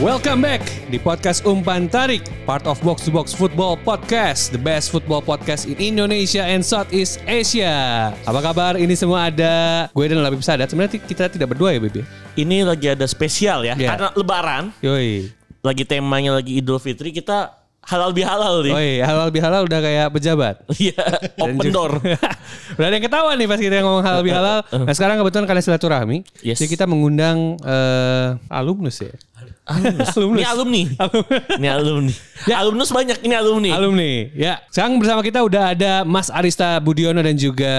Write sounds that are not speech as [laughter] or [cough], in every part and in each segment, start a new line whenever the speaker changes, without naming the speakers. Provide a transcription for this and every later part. Welcome back di podcast Umpan Tarik, part of Box to Box Football Podcast, the best football podcast in Indonesia and Southeast Asia. Apa kabar? Ini semua ada gue dan Labib Sadat. Sebenarnya ti- kita tidak berdua ya, Bibi.
ini lagi ada spesial ya
Iya.
karena lebaran
Yoi.
lagi temanya lagi Idul Fitri kita halal bihalal nih
Oi, halal bihalal udah kayak pejabat.
[laughs] Iya, open
Oh, iya. juga-
door.
udah ada yang ketawa nih pas kita ngomong
[laughs]
halal bihalal. Nah sekarang kebetulan kalian silaturahmi.
Uh-huh. Yes.
Jadi kita mengundang eh, alumnus ya. [laughs]
Ini alumni. Ini alumni. Alumnus banyak ini alumni.
Alumni. Ya, sekarang bersama kita udah ada Mas Arista Budiono dan juga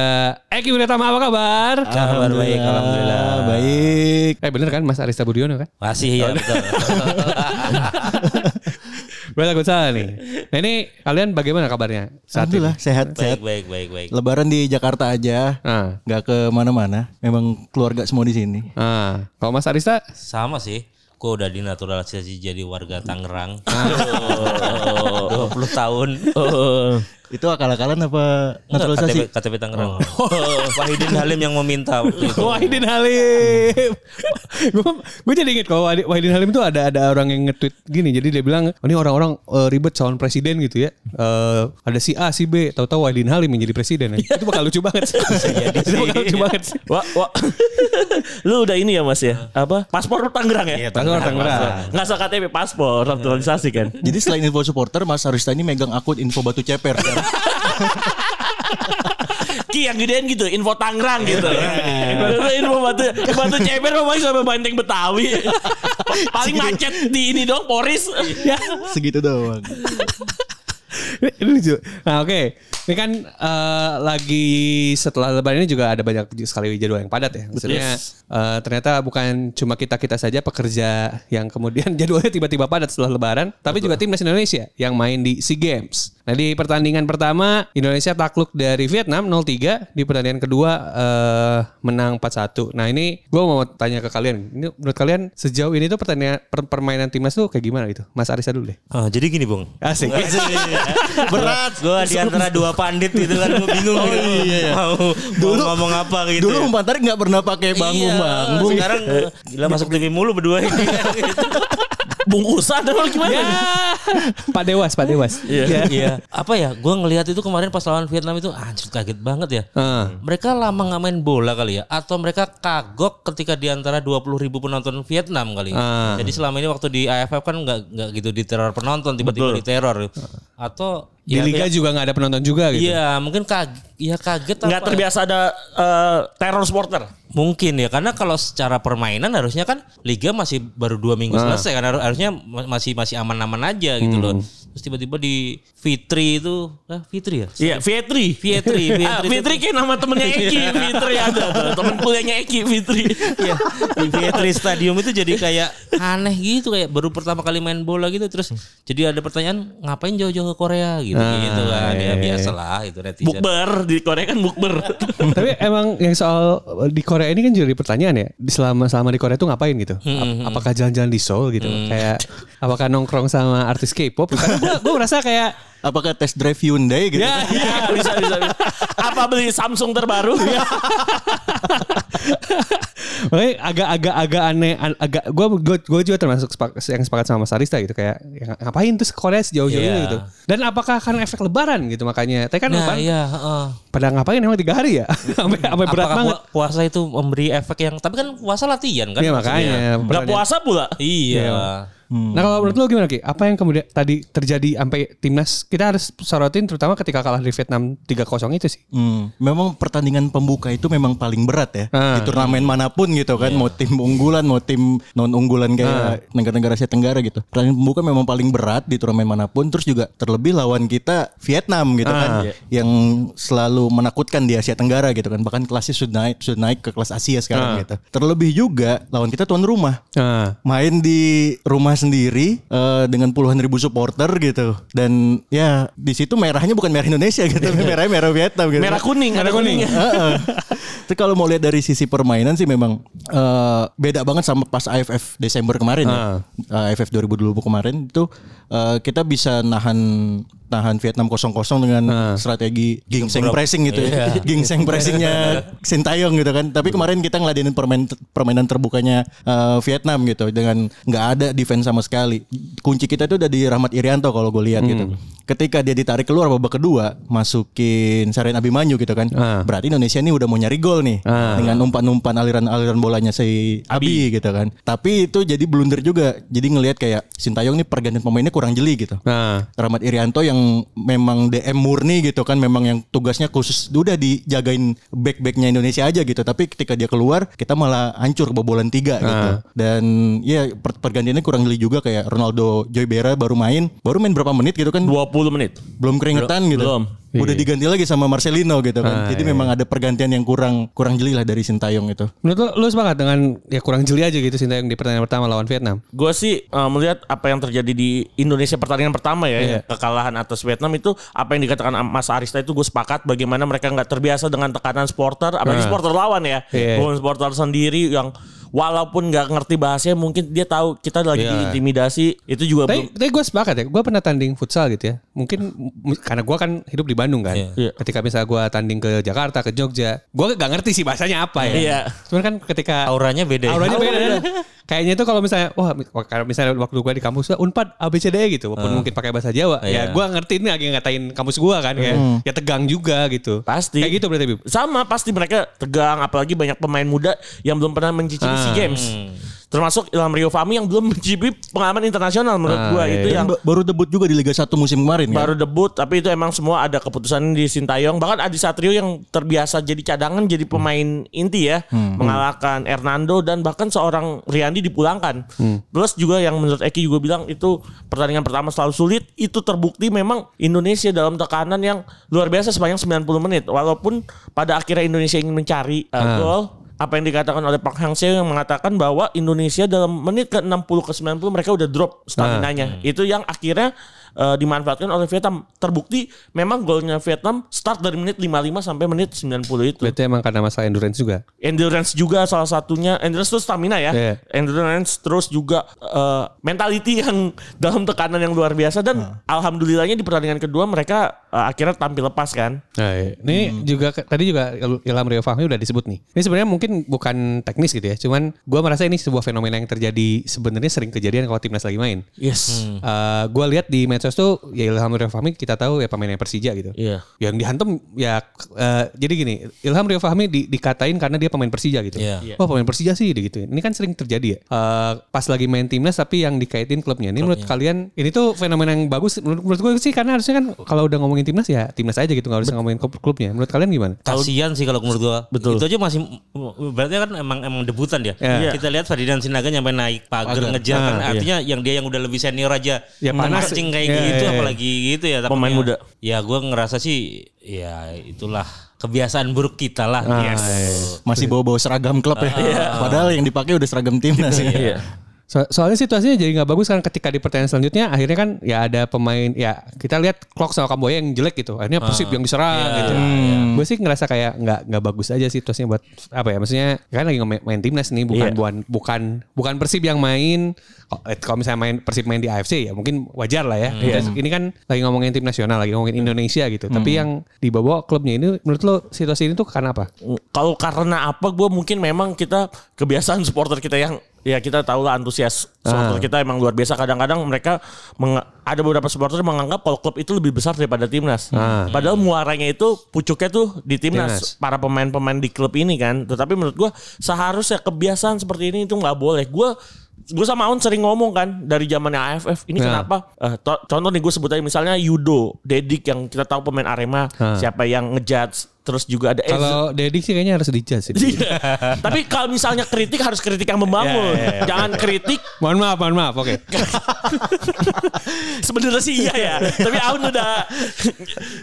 Eki Wiratama. Apa kabar?
Kabar baik, alhamdulillah. Baik.
Eh bener kan Mas Arista Budiono kan?
Masih ya
[laughs]
betul.
Berarti aku salah nih. Nah ini kalian bagaimana kabarnya saat ini?
Alhamdulillah sehat
baik,
sehat.
baik, baik, baik.
Lebaran di Jakarta aja,
Nah,
nggak ke mana-mana. Memang keluarga semua di sini.
nah. kalau Mas Arista
Sama sih. Gue udah dinaturalisasi jadi warga Tangerang. 20 tahun.
Oh.
Itu akal-akalan apa
Enggak, KTP,
naturalisasi?
KTP Tangerang. [laughs] Wahidin Halim yang meminta waktu itu.
Wahidin [laughs] Halim. gue jadi inget kalau Wahid- Wahidin Halim tuh ada ada orang yang nge-tweet gini. Jadi dia bilang ini orang-orang eh, ribet calon presiden gitu ya. Eh, ada si A, si B, tahu-tahu Wahidin Halim yang jadi presiden. Ya. Itu bakal lucu banget. Itu bakal lucu banget. sih.
Wah, wah. [laughs] Lu udah ini ya Mas ya? Apa? Paspor Tangerang ya?
Iya,
Tangerang, Tangerang.
Enggak usah KTP, paspor naturalisasi kan.
Jadi selain info supporter, Mas Arista ini megang akun info batu ceper.
Iya.
Ki yang gedean gitu, info Tangerang gitu. Lu info batu batu ceper mau sampai banteng Betawi. Paling macet di ini dong, Poris. Ya.
[laughs] Segitu doang.
Ini lucu. Nah oke, ini kan eh, lagi setelah lebaran ini juga ada banyak sekali jadwal yang padat ya. Maksudnya eh, ternyata bukan cuma kita kita saja pekerja yang kemudian [laughs] jadwalnya tiba-tiba padat setelah lebaran, tapi juga timnas Indonesia yang main di SEA Games. Nah di pertandingan pertama Indonesia takluk dari Vietnam 0-3, di pertandingan kedua eh, menang 4-1. Nah ini gue mau tanya ke kalian, ini menurut kalian sejauh ini tuh pertandingan per- permainan timnas tuh kayak gimana gitu? Mas Arisa dulu deh.
Ah, jadi gini Bung.
Asik.
Berat. Gue di antara dua pandit gitu kan. Gue bingung gitu. Mau, mau
Dulu-
ngomong apa gitu. Iya.
Dulu umpan tarik nggak pernah pakai bangun bang.
Bung. Sekarang gila masuk TV mulu berdua ini.
bungkusan atau gimana?
Ya. Pak Dewas, Pak Dewas.
[laughs]
Iya.
apa ya gue ngelihat itu kemarin pas lawan Vietnam itu anjir kaget banget ya
Heeh.
mereka lama nggak main bola kali ya atau mereka kagok ketika di antara 20.000 ribu penonton Vietnam kali ya.
Ah.
jadi selama ini waktu di AFF kan nggak nggak gitu diteror penonton tiba-tiba diteror atau
Di
ya-
liga
ya-
juga nggak ada penonton juga gitu.
iya mungkin kaget ya kaget
Nggak
apa-
terbiasa ada eh, teror supporter.
Mungkin ya, karena kalau secara permainan harusnya kan liga masih baru dua minggu selesai kan Har- harusnya ma- masih masih aman-aman aja gitu loh.
Hmm.
Terus tiba-tiba di Fitri itu, ah Fitri ya?
Iya, Fitri.
Fitri, Fitri,
Ah, Fitri kayak nama temennya Eki, Fitri ada tuh. Temen kuliahnya Eki, Fitri.
Iya, di Fitri Stadium itu jadi kayak aneh gitu kayak baru pertama kali main bola gitu terus
Hmm.
jadi ada pertanyaan ngapain jauh-jauh ke Korea gitu
Ah,
gitu kan
iya,
ya biasalah itu netizen.
Bukber di Korea kan bukber.
Tapi emang yang soal di Korea ini kan jadi pertanyaan ya. Di selama selama di Korea tuh ngapain gitu?
Hmm,
Ap- apakah jalan-jalan di Seoul gitu? Kayak apakah nongkrong sama artis K-pop? Karena gue gue merasa kayak
Apakah test drive Hyundai gitu?
ya
Iya, [laughs] bisa, bisa, bisa. Apa beli Samsung terbaru?
Makanya agak-agak agak aneh, an- agak gue juga termasuk sepak- yang sepakat sama Mas Arista gitu kayak ya, ngapain terus ke Korea sejauh-jauh ini
Iya.
gitu. Dan apakah akan efek Lebaran gitu makanya? Tapi kan
Nah,
Lebaran
iya, heeh.
pada ngapain emang tiga hari ya? [laughs] Sampai sampai berat
Apakah
banget.
pua- puasa itu memberi efek yang tapi kan puasa latihan kan?
Iya
maksudnya.
makanya.
Nggak
pertanyaan-
puasa pula.
Iya.
Hmm.
Nah kalau menurut lo gimana Ki? Apa yang kemudian tadi terjadi sampai timnas kita harus sorotin terutama ketika kalah dari Vietnam 3-0 itu sih.
Hmm, memang pertandingan pembuka itu memang paling berat ya
Ah.
di turnamen manapun gitu kan, mau tim unggulan, mau tim non unggulan kayak negara-negara Asia Tenggara gitu. Pertandingan pembuka memang paling berat di turnamen manapun, terus juga terlebih lawan kita Vietnam gitu kan, yang selalu menakutkan di Asia Tenggara gitu kan, bahkan kelasnya sudah naik sudah naik
Ah.
ke kelas Asia sekarang gitu. Terlebih juga lawan kita tuan rumah
Nah,
main di rumah sendiri eh, dengan puluhan ribu supporter gitu. Dan ya di situ merahnya bukan merah Indonesia
[laughs]
gitu, tapi merahnya merah Vietnam gitu.
Merah kuning, ada kuningnya.
[laughs] Heeh. Tapi kalau mau lihat dari sisi permainan sih memang eh, beda banget sama pas AFF Desember kemarin ya.
Ah.
Eh, AFF 2020 kemarin itu eh, kita bisa nahan nahan Vietnam 0-0 dengan
Ah.
strategi gingseng pressing gitu
Iya.
[laughs] ya. gingseng
[laughs]
pressingnya Sintayong gitu kan. Tapi kemarin kita ngeladenin permain, permainan terbukanya eh, Vietnam gitu dengan nggak ada defense sama sekali. Kunci kita itu udah di Rahmat Irianto kalau gue lihat gitu. Ketika dia ditarik keluar babak kedua masukin Saren Abimanyu gitu kan. Berarti Indonesia ini udah mau nyari gol nih dengan umpan-umpan aliran-aliran bolanya si Abi, gitu kan. Tapi itu jadi blunder juga. Jadi ngelihat kayak Sintayong nih pergantian pemainnya kurang jeli gitu.
Nah,
Rahmat Irianto yang memang DM murni gitu kan memang yang tugasnya khusus udah dijagain back-backnya Indonesia aja gitu tapi ketika dia keluar kita malah hancur kebobolan tiga
Ah.
gitu dan ya per- pergantiannya kurang jeli juga kayak Ronaldo Joy Bera baru main baru main berapa menit gitu kan
20 menit.
belum keringetan gitu
belum. Ah, iya.
udah diganti lagi sama Marcelino gitu kan jadi memang ada pergantian yang kurang kurang jeli lah dari Sintayong itu
menurut lo, lo sepakat dengan ya kurang jeli aja gitu Sintayong di pertandingan pertama lawan Vietnam?
Gue sih uh, melihat apa yang terjadi di Indonesia pertandingan pertama ya,
Iya.
kekalahan atas Vietnam itu apa yang dikatakan Mas Arista itu gue sepakat bagaimana mereka nggak terbiasa dengan tekanan supporter, apalagi supporter lawan ya,
Nah. Iya.
bukan supporter sendiri yang walaupun nggak ngerti bahasanya mungkin dia tahu kita lagi diintimidasi itu juga belum
Iya. Tapi, tapi gue sepakat ya, gue pernah tanding futsal gitu ya. Mungkin m- karena gue kan hidup di Bandung kan.
Iya.
Ketika misalnya gue tanding ke Jakarta, ke Jogja, gue gak ngerti sih bahasanya apa ya.
Iya.
Cuman kan ketika
Auranya beda. ya?
auranya beda. Kayaknya tuh kalau misalnya, wah kalau misalnya waktu gue di kampus, unpad ABCD gitu. Walaupun mungkin pakai bahasa Jawa. Ya
Iya.
gue ngerti ini lagi ngatain kampus gue kan. Kayak, Ya tegang juga gitu.
Pasti.
Kayak gitu berarti Bib.
sama pasti mereka tegang apalagi banyak pemain muda yang belum pernah mencicipi
Ah.
SEA Games. Termasuk Ilham Rio Fahmi yang belum mencicipi pengalaman
Ah,
internasional menurut gua
iya,
itu yang
Ba- baru debut juga di Liga 1 musim kemarin kan?
baru debut tapi itu emang semua ada keputusan di Sintayong bahkan Adi Satrio yang terbiasa jadi cadangan jadi pemain inti ya mengalahkan Hernando dan bahkan seorang Riyandi dipulangkan plus juga yang menurut Eki juga bilang itu pertandingan pertama selalu sulit itu terbukti memang Indonesia dalam tekanan yang luar biasa sepanjang 90 menit walaupun pada akhirnya Indonesia ingin mencari uh, gol apa yang dikatakan oleh Pak Hang Seo yang mengatakan bahwa Indonesia dalam menit ke 60 ke 90 mereka udah drop stamina-nya. Itu yang akhirnya eh, dimanfaatkan oleh Vietnam. Terbukti memang golnya Vietnam start dari menit 55 sampai menit 90 itu.
Berarti emang karena masalah endurance juga.
Endurance juga salah satunya. Endurance itu stamina ya.
Iya.
Endurance terus juga eh, mentality yang [laughs] dalam tekanan yang luar biasa dan alhamdulillahnya di pertandingan kedua mereka eh, akhirnya tampil lepas kan.
Nah, iya. ini juga ke- tadi juga Il- Ilham Rio Fahmi udah disebut nih. Ini sebenarnya mungkin bukan teknis gitu ya, cuman gua merasa ini sebuah fenomena yang terjadi sebenarnya sering kejadian kalau timnas lagi main.
Yes.
Eh, gua lihat di medsos tuh ya Ilham Rio Fahmi kita tahu ya pemainnya Persija gitu.
Iya.
Yang dihantam ya eh, jadi gini, Ilham Rio Fahmi di- dikatain karena dia pemain Persija gitu.
Iya.
Wah pemain Persija sih gitu. Ini kan sering terjadi ya. Eh, pas lagi main timnas tapi yang dikaitin klubnya. Ini menurut kalian ini tuh fenomena yang bagus menurut, menurut gue sih karena harusnya kan kalau udah ngomongin timnas ya timnas aja gitu nggak usah ngomongin klub- klubnya. Menurut kalian gimana?
Kasian sih kalau menurut gua. Betul. Itu aja masih berarti kan emang emang debutan dia.
Iya. Ah,
Kita lihat Ferdinand Sinaga nyampe naik pagar ngejar kan artinya yang dia yang udah lebih senior aja
Ya, panas.
memancing kayak
Iya,
gitu
iya, iya.
apalagi gitu ya tapi
Pemain
ya-
muda.
Ya gua ngerasa sih ya itulah kebiasaan buruk kita lah.
Ah,
yes.
iya.
masih bawa-bawa seragam klub
Ah,
ya
iya.
padahal yang dipakai udah seragam timnas ya.
So- soalnya situasinya jadi nggak bagus kan ketika di pertandingan selanjutnya akhirnya kan ya ada pemain ya kita lihat Klok sama Kamboya yang jelek gitu akhirnya Persib yang diserang gitu. Gue sih ngerasa kayak nggak nggak bagus aja situasinya buat apa ya maksudnya kan lagi main, main timnas nih bukan bukan bukan bukan Persib yang main Kalau- eh, kalau misalnya main Persib main di AFC ya mungkin wajar lah ya. Terus Ini kan lagi ngomongin tim nasional lagi ngomongin Indonesia gitu. Tapi yang dibawa klubnya ini menurut lo situasi ini tuh karena apa?
kalau karena apa gue mungkin memang kita kebiasaan supporter kita yang ya kita tahu lah antusias supporter kita emang luar biasa kadang-kadang mereka meng- ada beberapa supporter menganggap kalau klub itu lebih besar daripada timnas padahal muaranya itu pucuknya tuh di timnas, para pemain-pemain di klub ini kan tetapi menurut gue seharusnya kebiasaan seperti ini itu nggak boleh gue gue sama Aun sering ngomong kan dari zamannya AFF ini kenapa Eh, to- contoh nih gue sebut aja misalnya Yudo Dedik yang kita tahu pemain Arema siapa yang ngejudge terus juga ada Eze.
Kalau Dedik sih kayaknya harus dijudge
[laughs]
sih.
Iya. Tapi kalau misalnya kritik harus kritik yang membangun.
Iya,
Jangan kritik
Mohon maaf, mohon maaf. Oke.
[laughs] sebenarnya sih iya ya. Tapi gitu Aun udah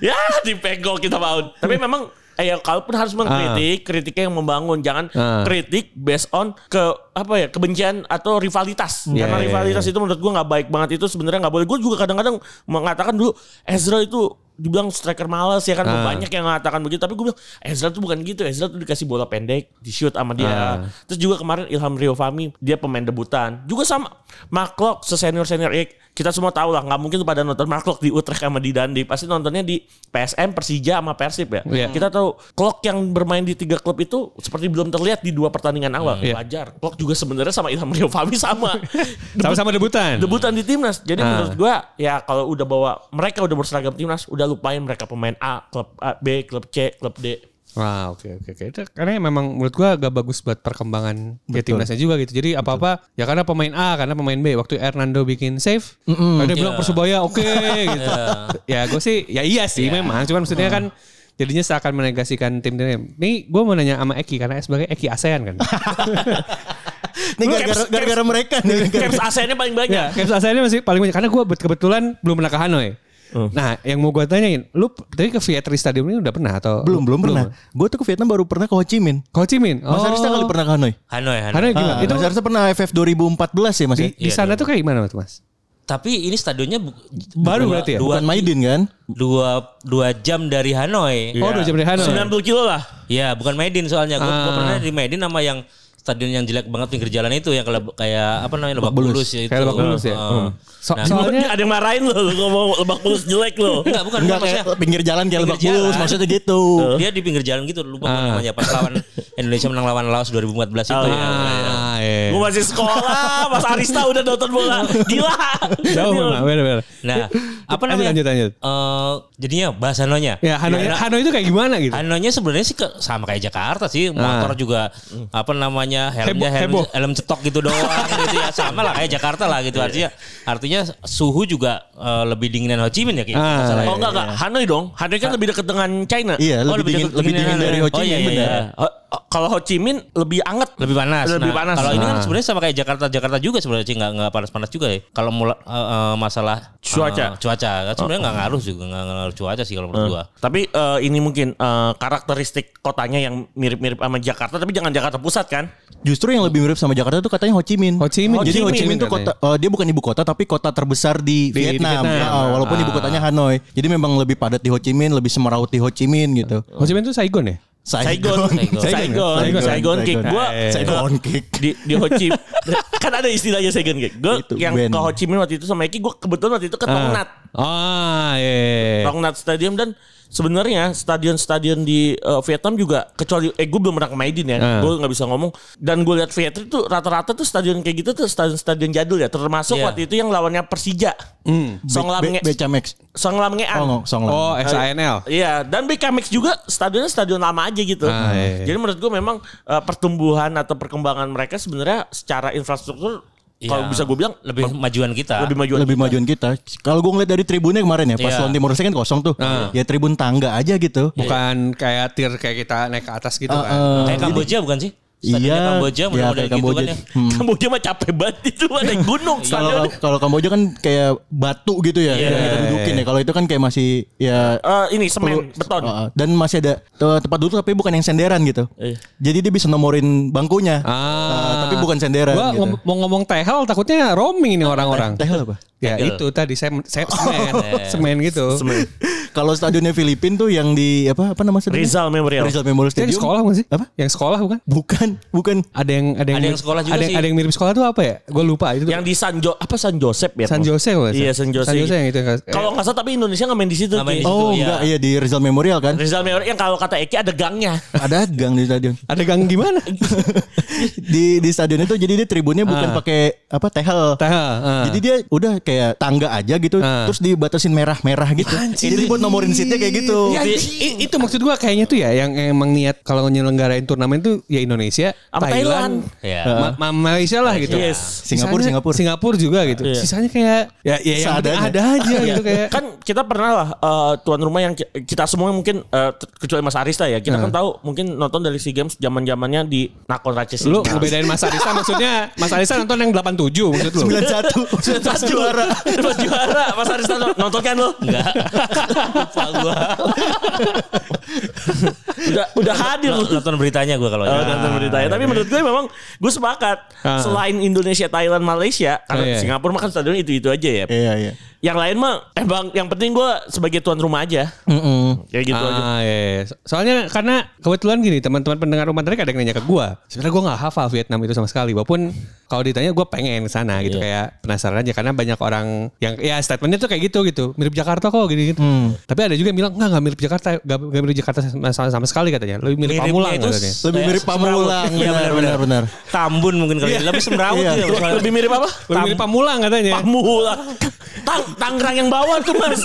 ya dipegok kita Aun. Tapi memang eh, ya kalaupun harus mengkritik, kritiknya yang membangun, jangan
Ah.
kritik based on ke apa ya kebencian atau rivalitas.
Iya,
Karena
iya,
rivalitas itu menurut gua nggak baik banget itu sebenarnya nggak boleh. Gue juga kadang-kadang mengatakan dulu Ezra itu dibilang striker malas ya kan
Ah.
banyak yang mengatakan begitu tapi gue bilang Ezra tuh bukan gitu Ezra tuh dikasih bola pendek di shoot sama dia
Ah.
terus juga kemarin Ilham Rio Fahmi dia pemain debutan juga sama Maklok sesenior senior Ya, kita semua tahu lah nggak mungkin pada nonton Maklok di Utrecht sama di Dundee pasti nontonnya di PSM Persija sama Persib ya
Iya.
kita tahu Klok yang bermain di tiga klub itu seperti belum terlihat di dua pertandingan awal
Iya.
wajar Klok juga sebenarnya sama Ilham Rio Fahmi
[laughs]
sama
Sama-sama debutan.
debutan di timnas. Jadi
Ah.
menurut gua ya kalau udah bawa mereka udah berseragam timnas, udah lupain mereka pemain A, klub A, B, klub C, klub D.
Wah oke oke oke. Itu Karena memang menurut gua agak bagus buat perkembangan ya timnasnya juga gitu. Jadi apa apa ya karena pemain A karena pemain B waktu Hernando bikin save, ada bilang persebaya oke gitu. Ya gue sih ya iya sih memang. Cuman maksudnya kan jadinya seakan menegasikan tim timnya. Nih gue mau nanya sama Eki karena sebagai Eki ASEAN kan.
Ini gara-gara
Caps-
gara-gara mereka nih.
Caps ASEAN-nya paling banyak.
ya Caps ASEAN masih paling banyak karena gue kebetulan belum pernah ke Hanoi.
Oh.
Nah yang mau gue tanyain, lu tadi ke Vietri Stadium ini udah pernah atau
Belum, belum pernah. Gue tuh ke Vietnam baru pernah ke Ho Chi Minh.
Ho Chi Minh.
Mas Arista kali pernah ke Hanoi?
Hanoi, Hanoi.
Hanoi gimana?
Ah,
Oh. itu
Mas Arista pernah AFF 2014 ya Mas ya?
di, di sana tuh kayak gimana tuh mas?
Tapi ini stadionnya bu-
Baru
dua-
berarti ya?
Dua,
Bukan Maidin kan?
dua, dua jam dari Hanoi.
Oh udah jam dari Hanoi.
90 kilo lah.
Ya bukan Maidin soalnya. Gue
Ah.
pernah di Maidin sama yang stadion yang jelek banget pinggir jalan itu. Yang kalau kayak apa namanya Lebak Bulus. ya itu.
Kayak Lebak Bulus ya?
Heeh.
So-
Nah,
soalnya
ada yang marahin lo, lo ngomong lebak bulus jelek lo.
Enggak bukan. Enggak,
Enggak kayak
maksudnya
pinggir jalan kayak Lebak
Pinggir
Bulus
jalan.
maksudnya gitu.
dia di pinggir jalan gitu lupa gua namanya pas lawan Indonesia menang lawan Laos 2014 itu
Oh,
ya.
Ah, iya.
Gue masih sekolah, Mas Arista udah nonton bola. Gila.
Jauh memang, benar-benar.
Nah, apa
Lanjut,
namanya?
lanjut, lanjut.
Eh, jadinya bahasa Hanoinya.
Ya Hanoi,
Karena
Hanoi itu kayak gimana gitu?
Hanoinya sebenarnya sih ke- sama kayak Jakarta sih,
Nah.
motor juga apa namanya
Heboh,
helmnya helm,
heboh.
helm cetok gitu doang gitu
[laughs]
ya sama lah kayak Jakarta lah
Iya,
gitu artinya artinya suhu juga eh, lebih dinginan Ho Chi Minh ya
Nah,
kayak
Ah,
nggak salah ya.
Oh enggak enggak, Hanoi dong. Hanoi kan lebih dekat dengan China.
Iya,
Oh, lebih
lebih dingin
dekat
lebih
pinggir
dingin
jalan.
dari Ho Chi
Oh, iya,
Minh
iya,
benar.
iya.
Eh, eh, Kalau Ho Chi Minh lebih anget.
lebih panas.
Lebih
Nah,
panas.
Kalau ini kan
Ah.
sebenarnya sama kayak Jakarta Jakarta juga sebenarnya Ci. nggak nggak panas-panas juga ya. Kalau mula, eh, eh, masalah eh,
Cuaca.
cuaca kan
Oh.
sebenarnya nggak ngaruh juga nggak nggak ngaruh cuaca sih kalau menurut
Nah.
gua.
Tapi eh, ini mungkin eh, karakteristik kotanya yang mirip-mirip sama Jakarta, tapi jangan Jakarta Pusat kan?
Justru yang lebih mirip sama Jakarta tuh katanya Ho Chi Minh. Oh,
Ho Chi Minh.
Jadi
Ho
Ho
Chi
Chi Minh
Minh
tuh kota eh, dia bukan ibu kota tapi kota terbesar
Di-
di,
di
Vietnam.
Vietnam.
Ah, walaupun ibu kotanya Hanoi. Jadi memang lebih padat di Ho Chi Minh, lebih semeraut di Ho Chi Minh gitu.
Ho Chi Minh itu Saigon ya?
Saigon, Saigon, Saigon,
Saigon.
Saigon kick. Gua
Saigon Eh, kick.
di, di Ho Chi [laughs] kan ada istilahnya Saigon kick. Gue
Itu,
yang
band.
ke Ho Chi Minh waktu itu sama Eki, gue kebetulan waktu itu ke Tongnat,
Ah, iya.
Tongnat Stadium dan sebenarnya stadion-stadion di eh, Vietnam juga kecuali eh gue belum pernah ke Maidin ya,
Ah.
gue nggak bisa ngomong. Dan gue lihat Vietnam tuh rata-rata tuh stadion kayak gitu tuh stadion-stadion jadul ya, termasuk
Iya.
waktu itu yang lawannya Persija, Song Lam Ah. Nge-
Becamex.
Song Lam Ngean.
Oh, no, Song Lam.
Oh, SANL.
Iya, dan BKMX juga stadionnya stadion lama aja gitu.
Ah, iya, iya.
Jadi menurut gue memang eh, pertumbuhan atau perkembangan mereka sebenarnya secara infrastruktur kalau
Iya.
bisa gue bilang
Lebih
lebih
majuan kita.
lebih majuan.
lebih
[laughs]
majuan kita. Kalau gue ngeliat dari tribunnya kemarin ya, pas
Iya.
lawan Timor Leste kan kosong tuh.
Ah.
Ya tribun tangga aja gitu.
Ya,
Bukan kayak tir kayak kita naik ke atas gitu
Eh,
kan.
eh,
kayak Kamboja bukan sih? Stadionnya
iya,
Kamboja
iya,
model-model
kayak
gitu
Kamboja.
kan ya.
Hmm.
Kamboja mah capek banget [laughs] itu naik gunung
Iya.
Kalau
stadion.
kalau Kamboja kan kayak batu gitu ya yang kita dudukin ya. Kalau itu kan kayak masih ya
Iya. Eh, ini
perlu-
semen beton.
Eh, eh, dan masih ada te- tempat duduk tapi bukan yang senderan gitu.
Iya.
Jadi dia bisa nomorin bangkunya. Eh,
Ah.
tapi bukan
Ah.
senderan
Gua
gitu.
ngom- mau ngomong tehel takutnya roaming nih orang-orang.
Tehel apa? [laughs]
Ya itu tadi saya saya semen, semen gitu.
Kalau stadionnya Filipin tuh yang di apa apa nama stadionnya?
Rizal Memorial.
Rizal Memorial
Itu yang
Stadium.
sekolah bukan sih?
Apa?
Yang sekolah bukan?
Bukan, bukan.
Ada yang ada yang,
Ada yang sekolah juga
ada, yang-
sih.
Ada yang mirip sekolah tuh apa ya? Gue lupa itu.
Yang di San Jo apa San Josep ya?
San Jose kalau nggak salah.
Iya San Jose.
San Jose yang itu yang- eh,
Kalau nggak salah tapi Indonesia nggak main di situ.
Nggak main
Ki.
di situ.
Oh,
ya.
enggak, iya di Rizal Memorial [laughs] kan.
Rizal Memorial yang kalau kata Eki ada gangnya.
Ada gang di stadion. [laughs]
ada gang
[laughs]
gimana?
di di stadion itu jadi dia tribunnya bukan pakai apa tehel.
Tehel. eh.
Jadi dia udah kayak tangga aja gitu,
Ah.
terus dibatasin merah-merah gitu. Jadi buat nomorin seatnya kayak gitu.
Ya, i- itu maksud gua kayaknya tuh ya yang emang niat kalau nyelenggarain turnamen tuh ya Indonesia,
Sama
Thailand, eh,
Thailand.
Ya.
Ma- ma- Malaysia lah gitu.
Yes.
Iya. Singapura,
Sisanya-
Singapura.
Singapura juga gitu.
Iya.
Sisanya kayak ya, ya yang penting
Seadanya.
ada aja gitu kayak.
kan kita pernah lah eh, tuan rumah yang ki- kita semua mungkin eh, t- kecuali Mas Arista ya kita kan tahu mungkin nonton dari SEA Games zaman zamannya di Nakon Racis
Lu ngebedain Mas Arisa maksudnya Mas Arisa nonton yang 87 maksud lu.
[laughs] 91 pas juara.
[laughs] pas juara Mas Arista
[laughs]
no- nonton kan lu
Enggak. Lupa gua.
udah udah hadir
Lo- Nonton Iya. beritanya gue kalau ya.
Oh, nonton beritanya. Tapi menurut gue memang gue sepakat.
Ah.
Selain Indonesia, Thailand, Malaysia, karena
Oh, iya.
Singapura mah kan stadion itu-itu aja ya.
Iya iya.
Yang lain mah emang yang penting gue sebagai tuan rumah aja. Kayak gitu aja.
Ah, iya, iya. So- Soalnya karena kebetulan gini teman-teman pendengar rumah tadi ada yang nanya ke gua. Sebenarnya gua nggak hafal Vietnam itu sama sekali. Walaupun kalau ditanya gua pengen ke sana
Iya.
gitu kayak penasaran aja karena banyak orang yang ya statementnya tuh kayak gitu gitu mirip Jakarta kok gini gitu.
Hmm.
Tapi ada juga yang bilang nggak nggak mirip Jakarta nggak nggak mirip Jakarta sama, sama- sama sekali katanya. Lebih mirip
Miripnya
Pamulang
itu
katanya.
Lebih mirip pamulang.
Iya
Benar benar
benar-benar.
benar.
Tambun mungkin kali. Lebih semrawut
Iya.
ya. soalnya.
Lebih mirip apa?
Lebih mirip Pamulang katanya.
Pamula. Tang Tangerang yang bawah tuh mas.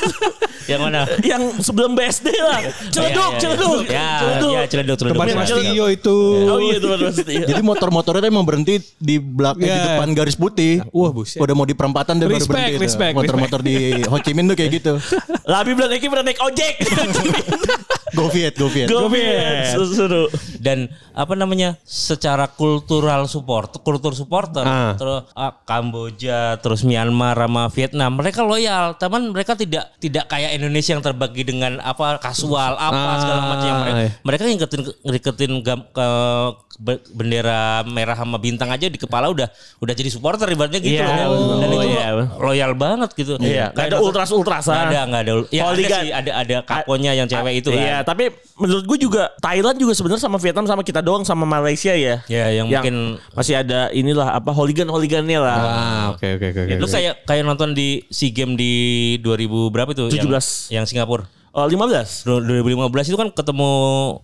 Yang mana?
yang sebelum BSD lah. Celeduk,
Iya, iya, iya.
celeduk.
Ya, ya celeduk, celeduk.
Tempat gitu.
Mirip
Mas
Jakarta.
Tio itu.
Oh iya tuh Mas Tio.
Jadi motor-motornya tuh emang berhenti di belakang di
Iya.
depan garis putih.
Wah, buset.
Udah mau di perempatan dia baru
Respect,
berhenti. tuh.
respect,
Motor-motor di Ho Chi Minh tuh kayak gitu. [laughs]
Labi bilang Eki pernah naik
[laughs]
ojek.
Go Viet, go Viet.
Gomez. Seru.
dan apa namanya secara kultural support kultur supporter
Ah.
terus ah, Kamboja terus Myanmar sama Vietnam mereka loyal teman mereka tidak tidak kayak Indonesia yang terbagi dengan apa kasual apa
Ah,
segala macam yang mereka,
iya.
mereka ngiketin ngiketin gam- ke, be- bendera merah sama bintang aja di kepala udah udah jadi supporter ibaratnya gitu
Iya.
loh.
Oh,
dan itu lo-
iya.
loyal banget gitu
Iya, nggak ada ultras-ultrasan.
Nggak ada nggak ada ul- ya, ada
Hooligan.
sih, ada ada kakonya yang cewek itu kan
Iya, tapi menurut gue juga Thailand juga sebenarnya sama Vietnam sama kita doang sama Malaysia ya.
Ya, yang mungkin-
masih ada inilah apa hooligan-hooligannya lah.
Ah, oke oke oke.
Iya,
Ya,
oke.
lu kayak kayak nonton di SEA Games di 2000 berapa itu?
17.
Yang, yang Singapura.
Oh, 15.
Du- 2015 itu kan ketemu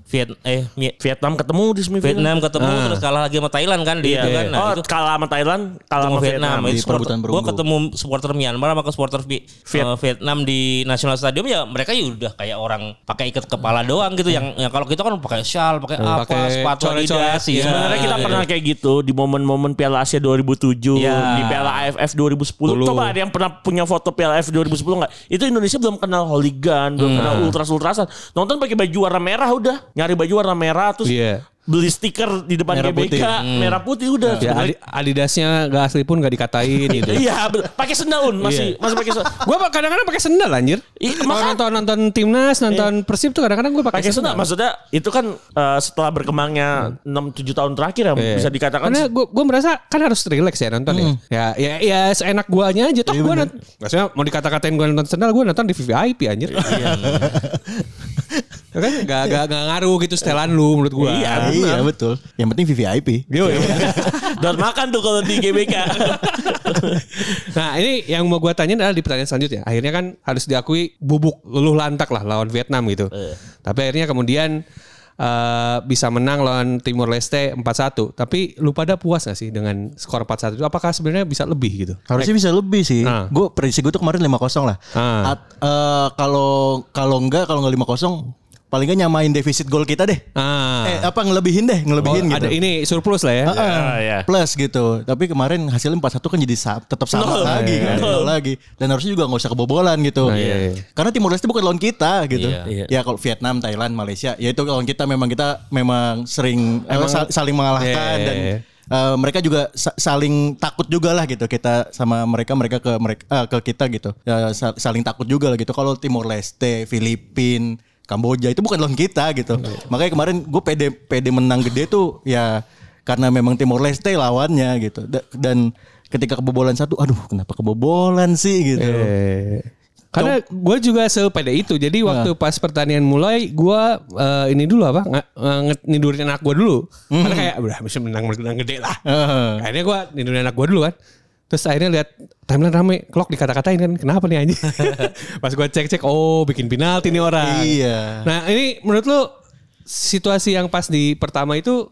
Viet eh Mi-
Vietnam ketemu di semifinal.
Vietnam ketemu terus kalah lagi sama Thailand kan
Ah.
di
Iya.
itu kan. Nah,
oh,
itu
kalah sama Thailand, kalah
ketemu
sama
Vietnam.
Vietnam.
Di
Itu supporter,
perebutan
gua
perunggu.
ketemu supporter Myanmar sama ke supporter Vi-
Viet-
eh, Vietnam di National Stadium ya mereka ya udah kayak orang pakai ikat kepala doang gitu yang, yang kalau kita kan pakai shawl, pakai
Iya,
apa,
Pakai
sepatu
coret-coret.
Adidas. Iya.
Sebenarnya kita
Iya.
pernah kayak gitu di momen-momen Piala Asia 2007,
Iya.
di Piala AFF 2010. Coba ada yang pernah punya foto Piala AFF 2010 nggak? Itu Indonesia belum kenal hooligan, belum kenal ultras-ultrasan. Nonton pakai baju warna merah udah, nyari baju warna merah terus
Iya.
beli stiker di depan
Merah
GBK
putih.
merah putih udah.
Ya,
Sebenarnya-
Adi- Adidasnya gak asli pun gak dikatain gitu.
[laughs] Iya, be- pakai sendal Un, masih masih pakai sendal.
Gue kadang-kadang pakai sendal anjir.
Ih,
Kalau
maka-
nonton nonton timnas, nonton persib tuh kadang-kadang gue pakai
Pakai
sendal.
sendal maksudnya itu kan eh, setelah berkembangnya 6 7 tahun terakhir ya
Iya.
bisa dikatakan [laughs]
Karena gue gue merasa kan harus relax ya nonton ya. Ya ya ya seenak guanya aja toh gue nonton. Maksudnya mau dikata-katain gue nonton sendal gue nonton di VVIP anjir. Iya. kan gak, gak, gak ngaruh gitu setelan lu menurut Iya. gue.
Iya, iya
Nah.
betul. Yang penting VVIP.
dan makan tuh kalau di GBK.
Nah ini yang mau gue tanya adalah di pertandingan selanjutnya. Akhirnya kan harus diakui bubuk luluh lantak lah lawan Vietnam gitu. Tapi akhirnya kemudian eh, bisa menang lawan Timor Leste 4-1. Tapi lu pada puas gak sih dengan skor 4-1 itu? Apakah sebenarnya bisa lebih gitu?
Harusnya bisa lebih sih.
Ah.
Gue prediksi gue tuh kemarin 5-0 lah.
Ah.
At- eh, Kalau kalau enggak kalau enggak 5-0 paling enggak nyamain defisit gol kita deh.
Ah.
Eh apa ngelebihin deh,
Oh,
ngelebihin gitu.
Ada ini surplus lah ya.
Ah, Plus gitu. Tapi kemarin hasilnya 4-1 kan jadi sa- tetap sama
Nol.
lagi kan. Nol lagi. Dan harusnya juga nggak usah kebobolan gitu.
Iya. Nah, iya, iya.
Karena Timor Leste bukan lawan kita gitu.
Iya.
Ya kalau Vietnam, Thailand, Malaysia, ya itu lawan kita memang kita memang sering eh, sal- saling mengalahkan
Iya, iya,
dan
iya.
eh, mereka juga sa- saling takut juga lah gitu kita sama mereka mereka ke mereka eh, ke kita gitu Ya, sa- saling takut juga lah gitu kalau Timor Leste, Filipin, Kamboja itu bukan lawan kita gitu
iya.
makanya kemarin gue pede pede menang gede tuh ya karena memang Timor Leste lawannya gitu Da- dan ketika kebobolan satu aduh kenapa kebobolan sih gitu
Eh, Karena gue juga sepede itu. Jadi
Ah.
waktu pas pertandingan mulai, gue eh, ini dulu apa nge- nge- nidurin anak gue dulu.
Hmm.
Karena kayak udah bisa menang menang gede lah.
Heeh.
Akhirnya gue nidurin anak gue dulu kan. Terus akhirnya lihat timeline rame, clock dikata-katain kan, kenapa nih anjing? [laughs] Pas gue cek-cek, oh bikin penalti nih orang.
Iya.
Nah ini menurut lu situasi yang pas di pertama itu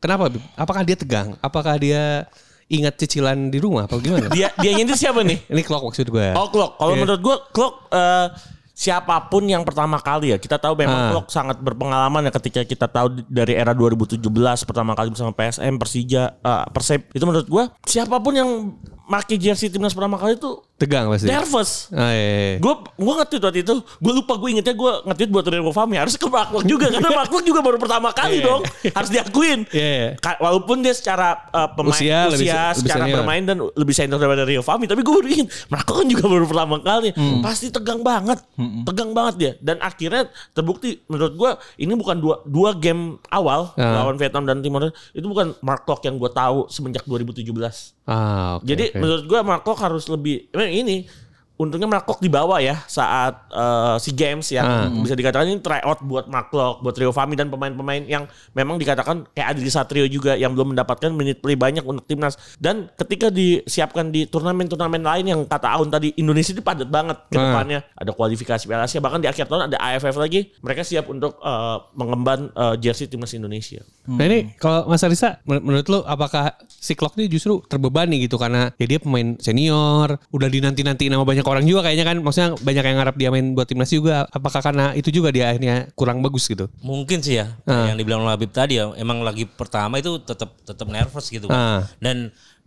kenapa? Bib? Apakah dia tegang? Apakah dia ingat cicilan di rumah? Apa gimana?
[laughs] dia dia nyindir siapa nih?
ini clock maksud gue.
Oh Klok. Kalau
Iya.
menurut gue Klok eh, siapapun yang pertama kali ya kita tahu
Ah.
memang Klok sangat berpengalaman ya ketika kita tahu di- dari era 2017 pertama kali bersama PSM Persija eh, Persib itu menurut gue siapapun yang pakai jersey timnas pertama kali tuh
Tegang pasti.
nervous.
Ah, iya, iya.
Gue gue nge-tweet waktu itu, gue lupa gue ingetnya gue nge-tweet buat Reno Fahmi harus ke Makluk juga
[laughs]
karena Makluk juga baru pertama kali dong, harus
Iya,
diakuin.
iya.
Ka- Walaupun dia secara uh, pemain
Usia
usia,
lebih se- lebih
secara
senior.
bermain dan lebih senior daripada Rio Fahmi, tapi gue baru ingin Makluk kan juga baru pertama kali,
Hmm.
pasti tegang banget, tegang banget dia. Dan akhirnya terbukti menurut gue ini bukan dua dua game awal
Ah.
lawan Vietnam dan Timor Leste, itu bukan Mark Klok yang gue tahu semenjak 2017.
Ah, oke,
Jadi
oke.
menurut gue Markok harus lebih eh, ini untungnya Markok dibawa ya saat eh, si games yang bisa dikatakan ini tryout buat Markok, buat Rio Fami dan pemain-pemain yang memang dikatakan kayak Adri Satrio juga yang belum mendapatkan menit play banyak untuk timnas dan ketika disiapkan di turnamen-turnamen lain yang kata Aun tadi Indonesia itu padat banget ke depannya ada kualifikasi Piala Asia bahkan di akhir tahun ada AFF lagi mereka siap untuk eh, mengemban eh, jersey timnas Indonesia.
Nah ini kalau Mas Arisa men- menurut lo apakah si Klok ini justru terbebani gitu karena ya dia pemain senior, udah dinanti-nanti nama banyak orang juga kayaknya kan. Maksudnya banyak yang harap dia main buat timnas juga. Apakah karena itu juga dia akhirnya kurang bagus gitu?
Mungkin sih ya,
Ah.
yang dibilang oleh Habib tadi ya, emang lagi pertama itu tetap tetap nervous gitu
Ah.
kan. Dan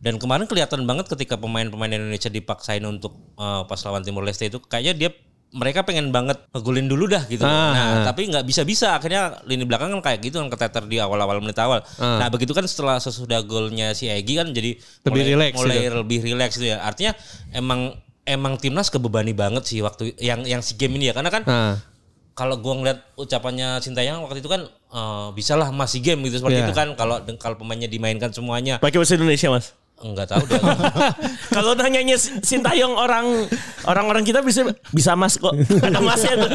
dan kemarin kelihatan banget ketika pemain-pemain Indonesia dipaksain untuk eh, pas lawan Timor Leste itu kayaknya dia mereka pengen banget ngegolin dulu dah gitu.
Ah.
Nah, tapi nggak bisa-bisa akhirnya lini belakang kan kayak gitu kan keteter di awal-awal menit awal. Nah, begitu kan setelah sesudah golnya si Egi kan jadi
Ah. Lebih
mulai-
relax
mulai lebih relax gitu ya. Artinya emang emang timnas kebebani banget sih waktu yang yang si game ini ya karena kan
Ah.
kalau gua ngeliat ucapannya Sintayang waktu itu kan eh, bisalah masih game gitu seperti
Iya.
itu kan kalau kalau pemainnya dimainkan semuanya
Pakai bahasa Indonesia, Mas.
enggak tahu deh. [laughs]
[laughs] Kalau nanyanya Sintayong orang orang-orang kita bisa bisa mas kok. Ada masnya tuh.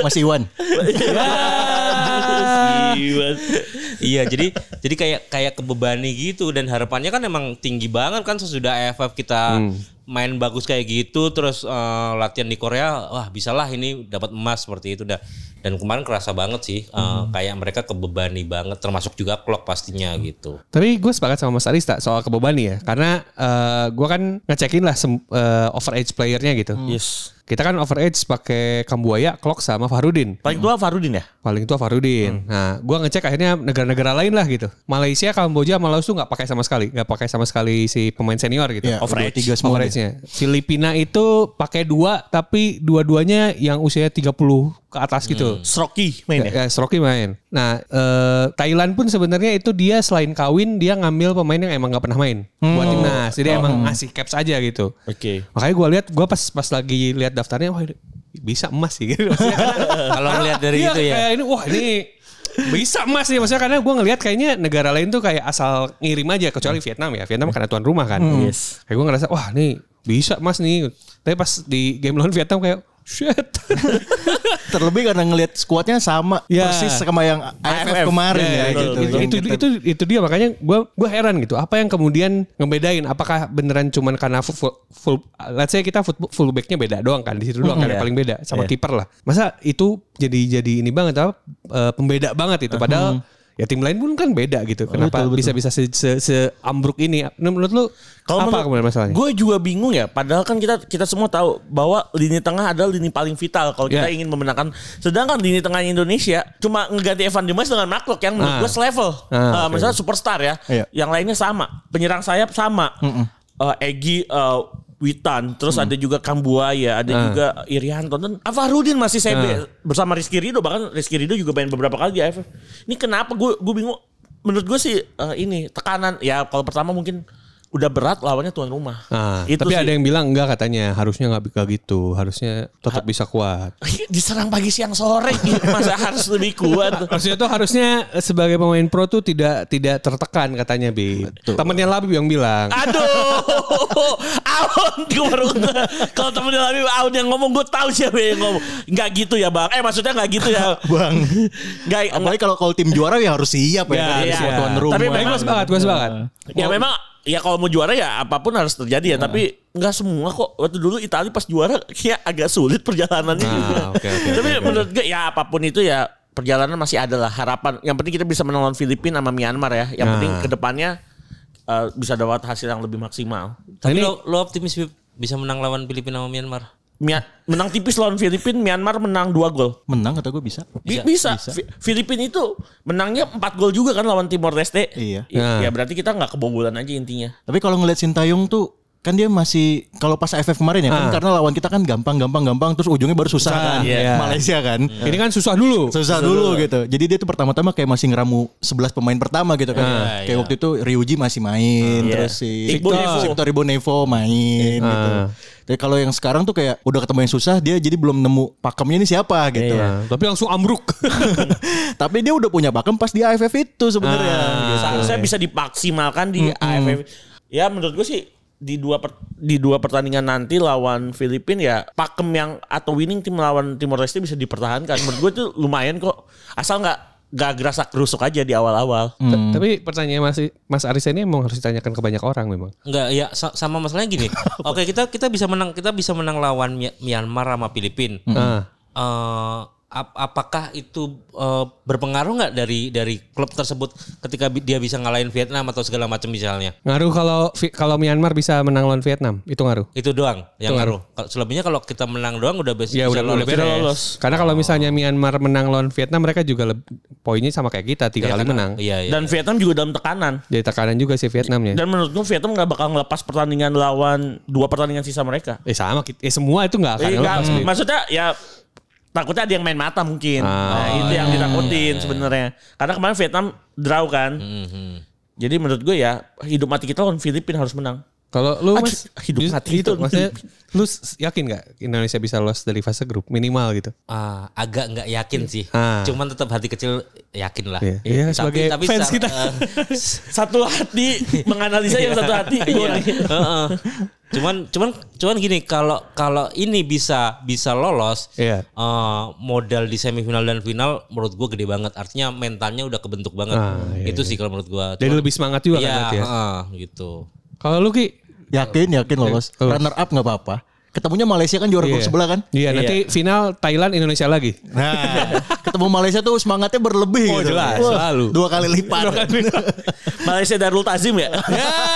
Mas Iwan.
[laughs]
iya, jadi jadi kayak kayak kebebani gitu dan harapannya kan emang tinggi banget kan sesudah AFF kita
Hmm.
main bagus kayak gitu terus eh, latihan di Korea wah bisalah ini dapat emas seperti itu dah. Dan kemarin kerasa banget sih eh,
Hmm.
kayak mereka kebebani banget termasuk juga clock pastinya gitu.
[laughs] Tapi gue sepakat sama Mas Arista soal kebebani ya. Karena eh, gua gue kan ngecekin lah sem- eh, overage playernya gitu.
[laughs] Yes.
Kita kan overage pakai Kambuaya, Klok sama Farudin.
Paling tua Farudin ya?
Paling tua Farudin. Nah, gua ngecek akhirnya negara-negara lain lah gitu. Malaysia, Kamboja, Malawi tuh nggak pakai sama sekali, nggak pakai sama sekali si pemain senior gitu.
Ya,
Overage.
dua, tiga semua. dia.
Average-nya. Filipina itu pakai dua tapi dua-duanya yang usianya 30 ke atas
Hmm.
gitu.
Sroki mainnya.
Ya, Sroki main. Nah, eh, Thailand pun sebenarnya itu dia selain kawin dia ngambil pemain yang emang nggak pernah main buat timnas. Jadi emang ngasih caps aja gitu.
Oke.
Makanya gua lihat gua pas pas lagi lihat daftarnya wah ini bisa emas sih [laughs] gitu. Maksudnya karena-
Kalau ngeliat dari
Iya,
itu ya.
Kayak ini wah ini bisa emas nih maksudnya karena gue ngelihat kayaknya negara lain tuh kayak asal ngirim aja
Hmm.
kecuali Vietnam ya Vietnam karena tuan rumah kan
Yes.
kayak gue ngerasa wah nih bisa emas nih tapi pas di game lawan Vietnam kayak shit [laughs]
Terlebih karena ngelihat skuadnya sama
Ya.
persis sama yang AFF kemarin
Ya,
ya,
itu,
gitu.
itu,
Yang
itu,
kita-
itu, itu dia makanya gue gua heran gitu apa yang kemudian ngebedain apakah beneran cuman karena full, full, full- let's say kita full, fullbacknya beda doang kan di situ
Hmm,
doang
iya.
kan yang paling beda sama kiper lah masa itu jadi jadi ini banget apa eh, pembeda banget itu padahal
Hmm.
ya tim lain pun kan beda gitu kenapa bisa bisa se, se- seambruk ini Nah, menurut lu
Kalau
apa
menurut-
kemudian masalahnya
Gue juga bingung ya. Padahal kan kita kita semua tahu bahwa lini tengah adalah lini paling vital kalau kita
Yeah.
ingin memenangkan. Sedangkan lini tengah Indonesia cuma ngeganti Evan Dimas dengan Maklok yang menurut
Ah.
gue selevel. Eh,
Ah, oke.
Misalnya superstar ya.
Iya.
Yang lainnya sama. Penyerang sayap sama. Eh, Egi eh, Witan, terus ada juga Kambuaya,
Ah.
ada juga Irianto dan Afarudin masih saya bersama Rizky Rido bahkan Rizky Rido juga main beberapa kali di AFF. Ini kenapa gue gue bingung. Menurut gue sih eh, ini tekanan ya kalau pertama mungkin udah berat lawannya tuan rumah.
Nah, tapi ada yang bilang enggak katanya harusnya nggak kayak gitu harusnya tetap bisa kuat
[laughs] diserang pagi siang sore gitu. masa harus lebih kuat.
[laughs] Maksudnya tuh harusnya sebagai pemain pro tuh tidak tidak tertekan katanya Bi. Temennya Labib yang bilang.
Ah, Aduh, Aun gue baru nge- kalau temen dalam Aun yang ngomong gue tahu siapa yang ngomong. Nggak gitu ya bang. Eh maksudnya nggak gitu
[laughs]
ya.
Bang.
Nggak.
Apalagi kalau kalau tim juara ya harus siap ya,
Ya,
kan?
iya.
Siap tuan
Tapi
rumah.
Tapi gue sepakat, gue sepakat.
Ya memang ya kalau mau juara ya apapun harus terjadi ya.
Nah.
Tapi nggak semua kok. Waktu dulu Italia pas juara kayak agak sulit perjalanannya.
Ah,
juga. [laughs]
oke, oke,
Tapi
oke, oke.
menurut gue ya apapun itu ya perjalanan masih ada lah harapan. Yang penting kita bisa menolong Filipina sama Myanmar ya.
Nah.
Yang penting kedepannya eh, bisa dapat hasil yang lebih maksimal.
Nah,
Tapi
ini
lo, lo optimis Bib, bisa menang lawan Filipina sama Myanmar?
Mia- menang tipis lawan Filipina, Myanmar menang 2 gol.
Menang kata gue bisa.
Bi- Bisa. Fi- Filipina itu menangnya 4 gol juga kan lawan Timor Leste.
Iya.
Ya, ya berarti kita nggak kebobolan aja intinya.
Tapi kalau ngeliat Sintayong tuh kan dia masih kalau pas AFF kemarin ya kan karena lawan kita kan gampang gampang gampang terus ujungnya baru susah kan
iya.
[laughs] Malaysia kan
Ini kan susah dulu.
susah dulu gitu jadi dia tuh pertama-tama kayak masih ngeramu 11 pemain pertama gitu kan kayak waktu itu Ryuji masih
Iya.
main terus si
Iqbal Nevo.
Victor Ibonevo main gitu tapi kalau yang sekarang tuh kayak udah ketemu yang susah dia jadi belum nemu pakemnya ini siapa gitu
Nah, Tapi langsung [laughs] ambruk.
[laughs] tapi dia udah punya pakem pas di AFF itu sebenarnya gitu.
Sa- Saya bisa dimaksimalkan di AFF. Ya menurut gue sih di dua per- di dua pertandingan nanti lawan Filipina ya pakem yang atau winning tim lawan Timor Leste bisa dipertahankan. Menurut gue itu lumayan kok. Asal nggak nggak gerasa kerusuk aja di awal-awal.
Ta- Tapi pertanyaan Mas Mas Arisa ini emang harus ditanyakan ke banyak orang memang.
Enggak, ya sa- sama masalahnya
[laughs]
gini. Oke, kita kita bisa menang kita bisa menang lawan Mi- Myanmar sama Filipina.
Ah.
Eh, ap- apakah itu eh, berpengaruh nggak dari dari klub tersebut ketika bi- dia bisa ngalahin Vietnam atau segala macam misalnya?
Ngaruh kalau Vi- kalau Myanmar bisa menang lawan Vietnam, itu ngaruh.
Itu doang yang ngaruh. Kalau- Selebihnya kalau kita menang doang udah bes-
Ya
bisa
udah udah beres.
lolos.
Karena kalau misalnya Myanmar menang lawan Vietnam, mereka juga leb- poinnya sama kayak kita tiga kali menang.
Iya, iya.
Dan Vietnam juga dalam tekanan.
Jadi tekanan juga sih ya. Vietnamnya.
Dan menurut gue Vietnam nggak bakal ngelepas pertandingan lawan dua pertandingan sisa mereka.
eh sama, kita- eh, semua itu nggak
Iya,
akan
Eh, nggak-
lepas. Bi.
maksudnya ya takutnya ada yang main mata mungkin.
Ah.
nah, itu yang ditakutin sebenarnya. Karena kemarin Vietnam draw kan.
Hmm. Mhm.
Jadi menurut gue ya hidup mati kita lawan Filipina harus menang.
Kalau lu
Ah,
mas
hidup
jus-
mati
itu
itu.
maksudnya lu s- yakin nggak Indonesia bisa lolos dari fase grup minimal gitu?
Ah, agak nggak yakin sih.
Ah.
Cuman tetap hati kecil yakin lah.
Iya. Iya, sebagai fans
secara-
kita.
[laughs] eh,
Satu hati menganalisa yang satu hati.
Iya. Heeh. Cuman cuman cuman gini kalau kalau ini bisa bisa lolos
Iya.
eh, modal di semifinal dan final menurut gua gede banget. Artinya mentalnya udah kebentuk banget.
Ah, iya,
Itu sih kalau menurut gua.
Jadi lebih semangat juga kan
Iya,
berarti ya.
heeh, gitu.
Kalau lu ki
yakin yakin lolos
Lolos.
runner up nggak apa-apa ketemunya Malaysia kan juara grup
Iya.
sebelah kan
Iya, nanti final Thailand Indonesia lagi.
Nah, ketemu Malaysia tuh semangatnya berlebih
Oh,
gitu.
jelas,
Wah,
selalu.
Dua kali lipat.
Malaysia Darul Tazim ya.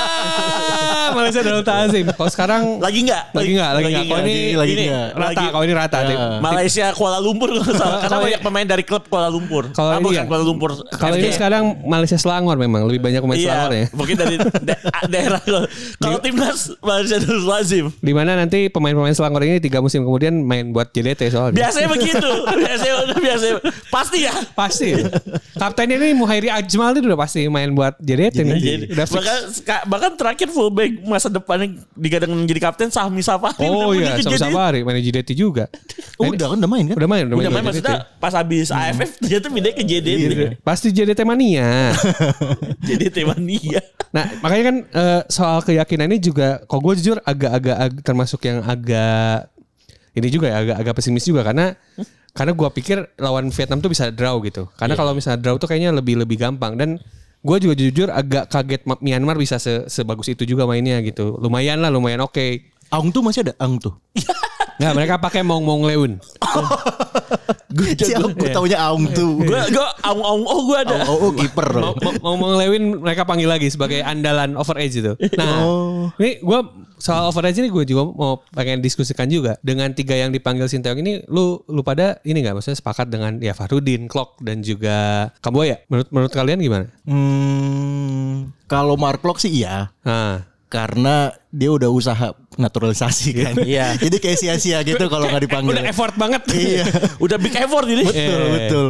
Ah, Malaysia Darul Ta'azim. Kalau sekarang
Lagi nggak?
lagi nggak, lagi nggak. Kalau ini
lagi
ini
nggak.
rata,
Lagi- Ya. Iya.
kalau ini rata. Dik.
Malaysia Kuala Lumpur kalau nggak salah. Karena banyak pemain dari klub Kuala Lumpur.
Kalau
Ah,
ini
bukan
ya.
Kuala Lumpur.
Kalau ini
FJ.
sekarang Malaysia Selangor memang lebih banyak
Iya.
pemain Selangor ya.
mungkin dari da- daerah kalau- kalau timnas Malaysia Darul Lazim.
Di mana nanti pemain-pemain Selangor ini tiga musim kemudian main buat JDT soalnya.
Biasanya begitu. Biasanya udah biasanya pasti ya.
Pasti. Kapten ini Muhairi Ajmal itu udah pasti main buat JDT nih.
Jadi,
Iya, Udah fix.
bahkan, ska- bahkan terakhir fullback masa depannya digadang menjadi kapten Sahmi Safari.
Oh
Udah
iya,
begitu.
sama
Jadi,
Safari main JDT juga.
Udah kan udah main kan?
Udah main, udah main.
Udah main
buat JDT.
maksudnya pas habis AFF ternyata pindah ke gitu.
Iya,
JDT.
iya. Pasti JDT mania.
JDT mania.
Nah, makanya kan eh, soal keyakinan ini juga, kalau gue jujur agak-agak ag- termasuk yang agak ini juga ya, agak-agak pesimis juga karena karena gue pikir lawan Vietnam tuh bisa draw gitu. Karena kalau misalnya draw tuh kayaknya lebih lebih gampang dan gue juga jujur agak kaget Ma- Myanmar bisa se- sebagus itu juga mainnya gitu. Lumayan lah, lumayan oke.
[laughs] Aung tuh masih ada Aung tuh.
Nah, mereka pakai Mong Mong Leun.
Gue gue taunya Aung tuh.
Gue gue aung aung oh gue ada.
Oh, oh, kiper loh.
Mo- Mong Mong Lewin mereka panggil lagi sebagai andalan overage itu. Nah, ini gue soal overage ini gue juga mau pengen diskusikan juga dengan tiga yang dipanggil Sinteyong ini, lu lu pada ini nggak maksudnya sepakat dengan ya Fahrudin, Klok dan juga Kamboya. Menurut menurut kalian gimana?
Hmm, kalau Mark Locke sih iya.
Nah,
Karena dia udah usaha naturalisasi kan. Iya. [laughs] Jadi kayak sia-sia gitu kalau nggak dipanggil.
udah effort banget.
Iya.
[laughs] Udah big effort ini.
[laughs] Betul,
Iya.
betul.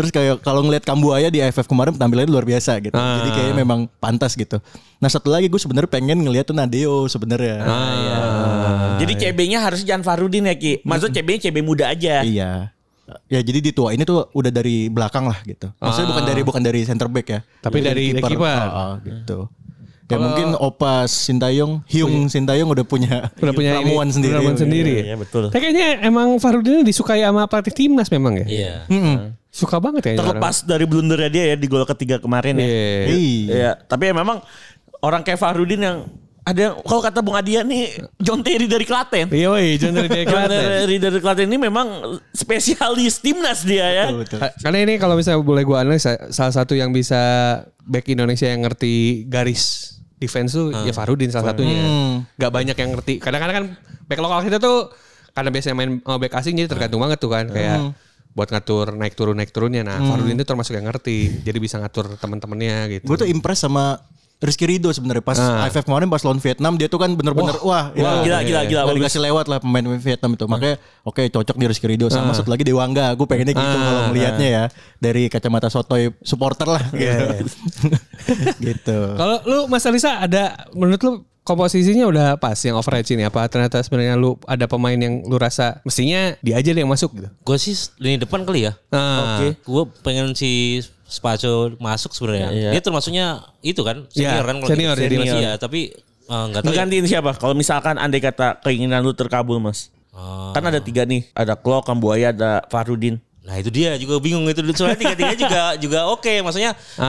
Terus kayak kalau ngelihat Kambuaya di AFF kemarin penampilannya luar biasa gitu.
Ah.
Jadi kayaknya memang pantas gitu. Nah, satu lagi gue sebenarnya pengen ngelihat tuh Nadeo sebenarnya.
Ah.
Jadi
iya.
CB-nya harusnya jangan Farudin ya Ki.
Hmm.
Maksudnya CB-nya CB muda aja.
Iya. Ya jadi di tua ini tuh udah dari belakang lah gitu. Maksudnya bukan dari bukan dari center back ya.
Ah. Tapi
Jadi
dari kiper.
Ah, ah, gitu. Ya mungkin Opa Sintayong, Hyung Sintayong udah punya
Udah punya ini,
ramuan sendiri.
ramuan sendiri.
Iya, betul.
Tapi kayaknya emang Fahrudin disukai sama pelatih timnas memang ya.
Iya.
Mm-mm.
Suka banget ya.
Terlepas dari blundernya dia ya di gol ketiga kemarin ya.
Iya.
Iya.
Iya, tapi ya memang orang kayak Fahrudin yang ada yang kalau kata Bung Adian nih John Terry dari Klaten.
Iya, woi, John dari dari
John
Klaten.
Terry dari Klaten ini memang spesialis timnas dia ya.
Betul, betul.
Ka- Karena ini kalau misalnya boleh gue analisa salah satu yang bisa back Indonesia yang ngerti garis Hmm. defense tuh ya Farudin salah satunya. Gak banyak yang ngerti. Kadang-kadang kan back lokal kita tuh karena biasanya main sama back asing jadi tergantung banget tuh kan kayak buat ngatur naik turun naik turunnya. Nah, Farudin itu termasuk yang ngerti. Jadi bisa ngatur teman-temannya gitu.
Gue tuh impress sama Rizky Rido sebenarnya pas AFF kemarin pas lawan Vietnam dia tuh kan bener-bener
Wah,
wah,
gila,
ya,
gila, gila,
nggak
bagus.
dikasih lewat lah pemain Vietnam itu makanya oke cocok di Rizky Rido sama satu lagi Dewangga gue pengennya gitu kalau melihatnya ya dari kacamata sotoy supporter lah gitu [laughs] gitu
Kalau lu Mas Alisa ada menurut lu komposisinya udah pas yang overage ini apa ternyata sebenarnya lu ada pemain yang lu rasa mestinya dia aja deh yang masuk gitu.
Gue sih lini depan kali ya.
Nah,
Oke. Gue pengen si Spaco masuk sebenarnya.
Iya.
Dia termasuknya itu kan
Iya,
senior kan kalau
senior
gitu.
ya dia masih.
Iya, tapi eh, nggak tahu. ya.
Ngegantiin siapa? Kalau misalkan andai kata keinginan lu terkabul, Mas.
Ah.
Kan ada tiga nih. Ada Klo, Kambuaya, ada Farudin.
Nah itu dia juga bingung itu soalnya
[laughs]
tiga-tiga juga juga oke maksudnya
Ah.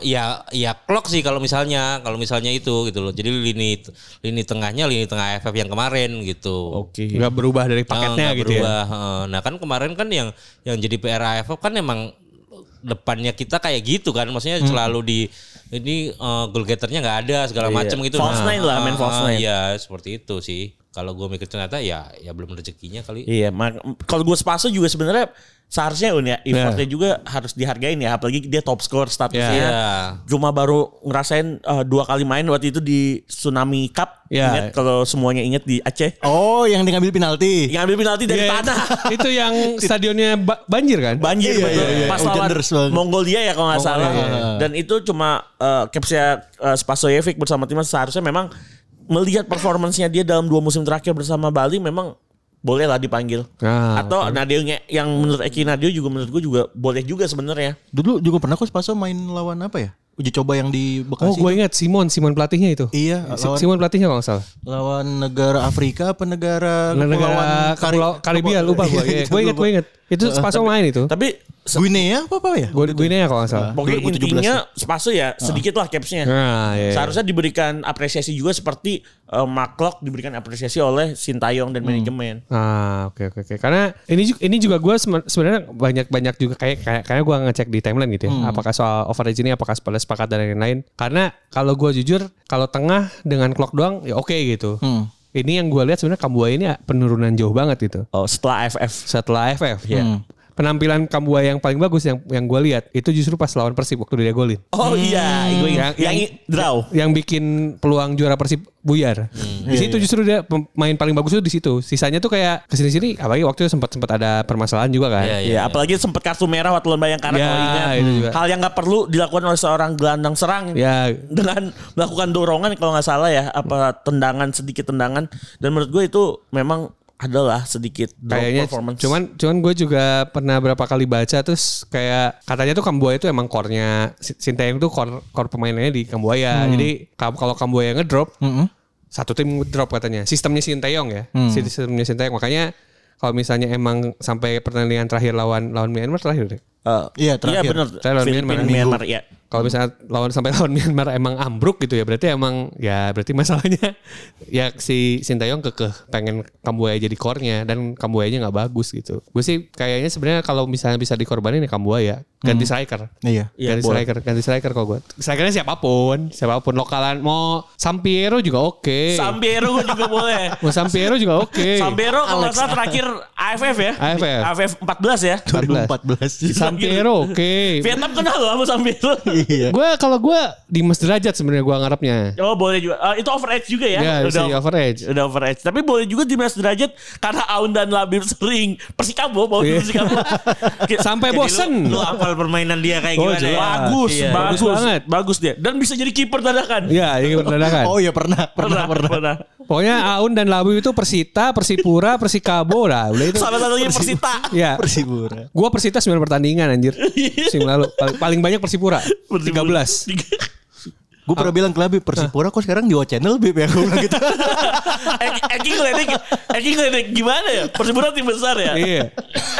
eh, ya ya clock sih kalau misalnya kalau misalnya itu gitu loh jadi lini lini tengahnya lini tengah AFF yang
Oh,
kemarin gitu
nggak berubah dari paketnya
Nggak
gitu ya.
berubah. Heeh. Nah kan kemarin kan yang yang jadi PR AFF kan emang depannya kita kayak gitu kan maksudnya
Hmm.
selalu di ini eh, goal getternya nggak ada segala macam
Iya.
gitu.
False nine lah, main
ah,
false
ah,
nine.
Iya seperti itu sih. Kalau gue mikir ternyata ya ya belum rezekinya kali.
Iya, mak- kalau gue Spaso juga sebenarnya seharusnya Un ya, effortnya juga harus dihargain ya, apalagi dia top score statusnya.
Iya.
Cuma baru ngerasain eh, dua kali main waktu itu di Tsunami Cup.
Iya.
Ingat kalau semuanya ingat di Aceh.
oh yang diambil penalti
Yang ambil penalti dari
Iya,
tanah. [laughs]
itu yang stadionnya ba- banjir kan?
Banjir
Iya,
betul.
iya, iya.
Pas
Hujan
lawan
deras banget.
Mongolia ya kalau nggak salah. Dan itu cuma eh, capsnya eh, Spasojevic bersama timnas seharusnya memang melihat performancenya dia dalam dua musim terakhir bersama Bali memang bolehlah dipanggil.
Ah,
Atau Nadio yang menurut Eki Nadio juga menurut gue juga boleh juga sebenarnya.
dulu juga pernah kok Spaso main lawan apa ya uji coba yang di Bekasi
Oh, gue ingat Simon, Simon pelatihnya itu.
Iya,
Si-
lawan-
Simon pelatihnya kalau nggak salah.
lawan negara Afrika apa negara
Negara Kari- Karibia lupa gue.
Iya,
Gue ingat, gue ingat. Itu Spaso main itu.
Tapi se-
Guinea apa apa ya
Gue Guinea kalau nggak salah.
pokoknya
2017.
intinya Spaso ya sedikit lah capsnya.
Nah, Ah. iya.
Seharusnya diberikan apresiasi juga seperti eh, Maklok diberikan apresiasi oleh Sintayong
Hmm.
dan manajemen.
Ah oke oke oke karena ini juga ini juga gue sebenarnya banyak banyak juga kayak kayak kayak gue ngecek di timeline gitu ya apakah soal overage ini apakah sepakat sepakat dan lain-lain karena kalau gue jujur kalau tengah dengan clock doang ya oke gitu
Hmm.
ini yang gue lihat sebenarnya Kambuaya ini penurunan jauh banget gitu
Oh, setelah FF.
setelah FF ya
Hmm.
penampilan Kambuaya yang paling bagus yang yang gue lihat itu justru pas lawan Persib waktu dia golin
Oh iya, gue ingat.
Hmm. Yang- Iya,
Yang,
yang-
draw.
yang bikin peluang juara Persib buyar.
Hmm.
Di
Iya,
situ justru dia pemain paling bagus itu di situ. Sisanya tuh kayak kesini sini apalagi waktu itu sempat sempat ada permasalahan juga kan.
Iya,
Iya, apalagi sempat kartu merah waktu lawan Bayangkara
Ya,
kalau ingat.
itu juga.
Hal yang nggak perlu dilakukan oleh seorang gelandang serang
Ya.
dengan melakukan dorongan kalau nggak salah ya, apa tendangan sedikit tendangan dan menurut gue itu memang adalah sedikit drop
Kayaknya
performance.
cuman cuman gue juga pernah berapa kali baca terus kayak katanya tuh Kambuaya itu emang core-nya Si- Sinteyong tuh core core pemainnya di Kambuaya. Jadi kam- kalau Kambuaya ngedrop satu tim drop katanya. Sistemnya Sinteyong ya. Sistemnya Sinteyong makanya kalau misalnya emang sampai pertandingan terakhir lawan lawan Myanmar terakhir deh.
Eh, Iya
Iya, terakhir.
benar.
Saya lawan
Filipina
Myanmar.
Myanmar ya.
Kalau misalnya lawan sampai lawan Myanmar emang ambruk gitu ya, berarti emang ya berarti masalahnya [laughs] ya si Sintayong kekeh pengen Kambuaya jadi core-nya dan Kambuayanya nggak bagus gitu. Gue sih kayaknya sebenarnya kalau misalnya bisa dikorbanin ya Kambuaya
Hmm.
ganti striker.
Iya.
ganti striker, ganti striker kok gue. Strikernya siapapun, siapapun lokalan mau Sampiero juga oke.
Sambiero gue juga boleh.
mau Sampiero juga oke.
[laughs] Sambiero kalau nggak salah terakhir AFF ya.
AFF.
AFF 14 ya.
Iya. 2014.
Sampiero oke.
Vietnam kenal loh sama Sambiero.
Iya.
Gue kalau gue Dimas Derajat sebenarnya gue ngarepnya.
Oh boleh juga. Eh, itu overage juga ya.
Ya, si overage.
Udah overage. Tapi boleh juga di Mas Derajat karena Aun dan Labib sering Persikabo mau
Iya.
Persikabo.
[laughs]
Kayak- gitu.
Sampai
Jadi
bosen.
Lu, lu hafal permainan dia kayak
Oh,
gimana ya?
jelas.
bagus,
Iya.
bagus,
Bagus banget.
Bagus dia. Dan bisa jadi kiper dadakan.
Iya, ini dadakan.
Oh iya pernah, pernah, pernah.
Pokoknya Aun dan Labu itu Persita, Persipura, Persikabo lah. Udah
[laughs]
itu.
Salah satunya Persita.
Ya.
Persibura.
Gua Persita 9 pertandingan anjir. Musim lalu paling, paling banyak Persipura. 13.
Tiga.
Gue pernah bilang ke Labib, Persipura kok sekarang di O Channel Bib ya. Gue bilang gitu.
Eki Eki ngeledek, Eki ngeledek gimana ya? Persipura tim besar ya.
Iya.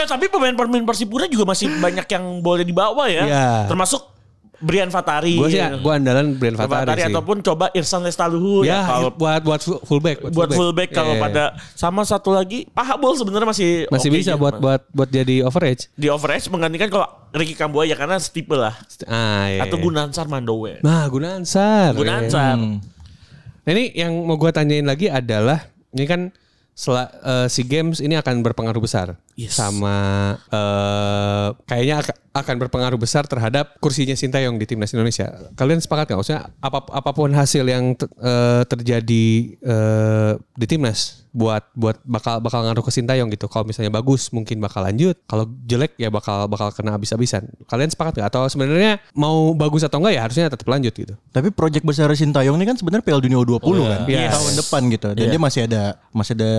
Eh tapi pemain-pemain Persipura juga masih banyak yang boleh dibawa ya.
Iya.
Termasuk Brian Fatari.
Gua sih gua andalan Brian
Iya. Fatari,
Fatari sih.
ataupun coba Irsan Lestaluhu
ya,
kalau
buat buat fu- fullback.
buat fullback kalau
Iya.
pada sama satu lagi Pak Habol sebenarnya masih
masih
oke gitu,
bisa
juga.
buat buat buat jadi overage.
di overage menggantikan kalau Ricky Kambuaya karena stipe lah
Ah, iya.
atau Gunansar Mandowe.
Nah, Gunansar. Iya.
Gunansar.
Nah, ini yang mau gua tanyain lagi adalah ini kan sela- eh, SEA Games ini akan berpengaruh besar sama eh, kayaknya ak- akan berpengaruh besar terhadap kursinya Sintayong di timnas Indonesia. Kalian sepakat nggak? Maksudnya apa- apapun hasil yang te- eh, terjadi eh, di timnas buat buat bakal bakal ngaruh ke Sintayong gitu. Kalau misalnya bagus mungkin bakal lanjut, kalau jelek ya bakal bakal kena habis-habisan. Kalian sepakat nggak? Atau sebenarnya mau bagus atau enggak ya harusnya tetap lanjut gitu.
Tapi proyek besar Sintayong ini kan sebenarnya Piala Dunia U20 kan
Yes.
tahun depan gitu. Dan dia masih ada masih ada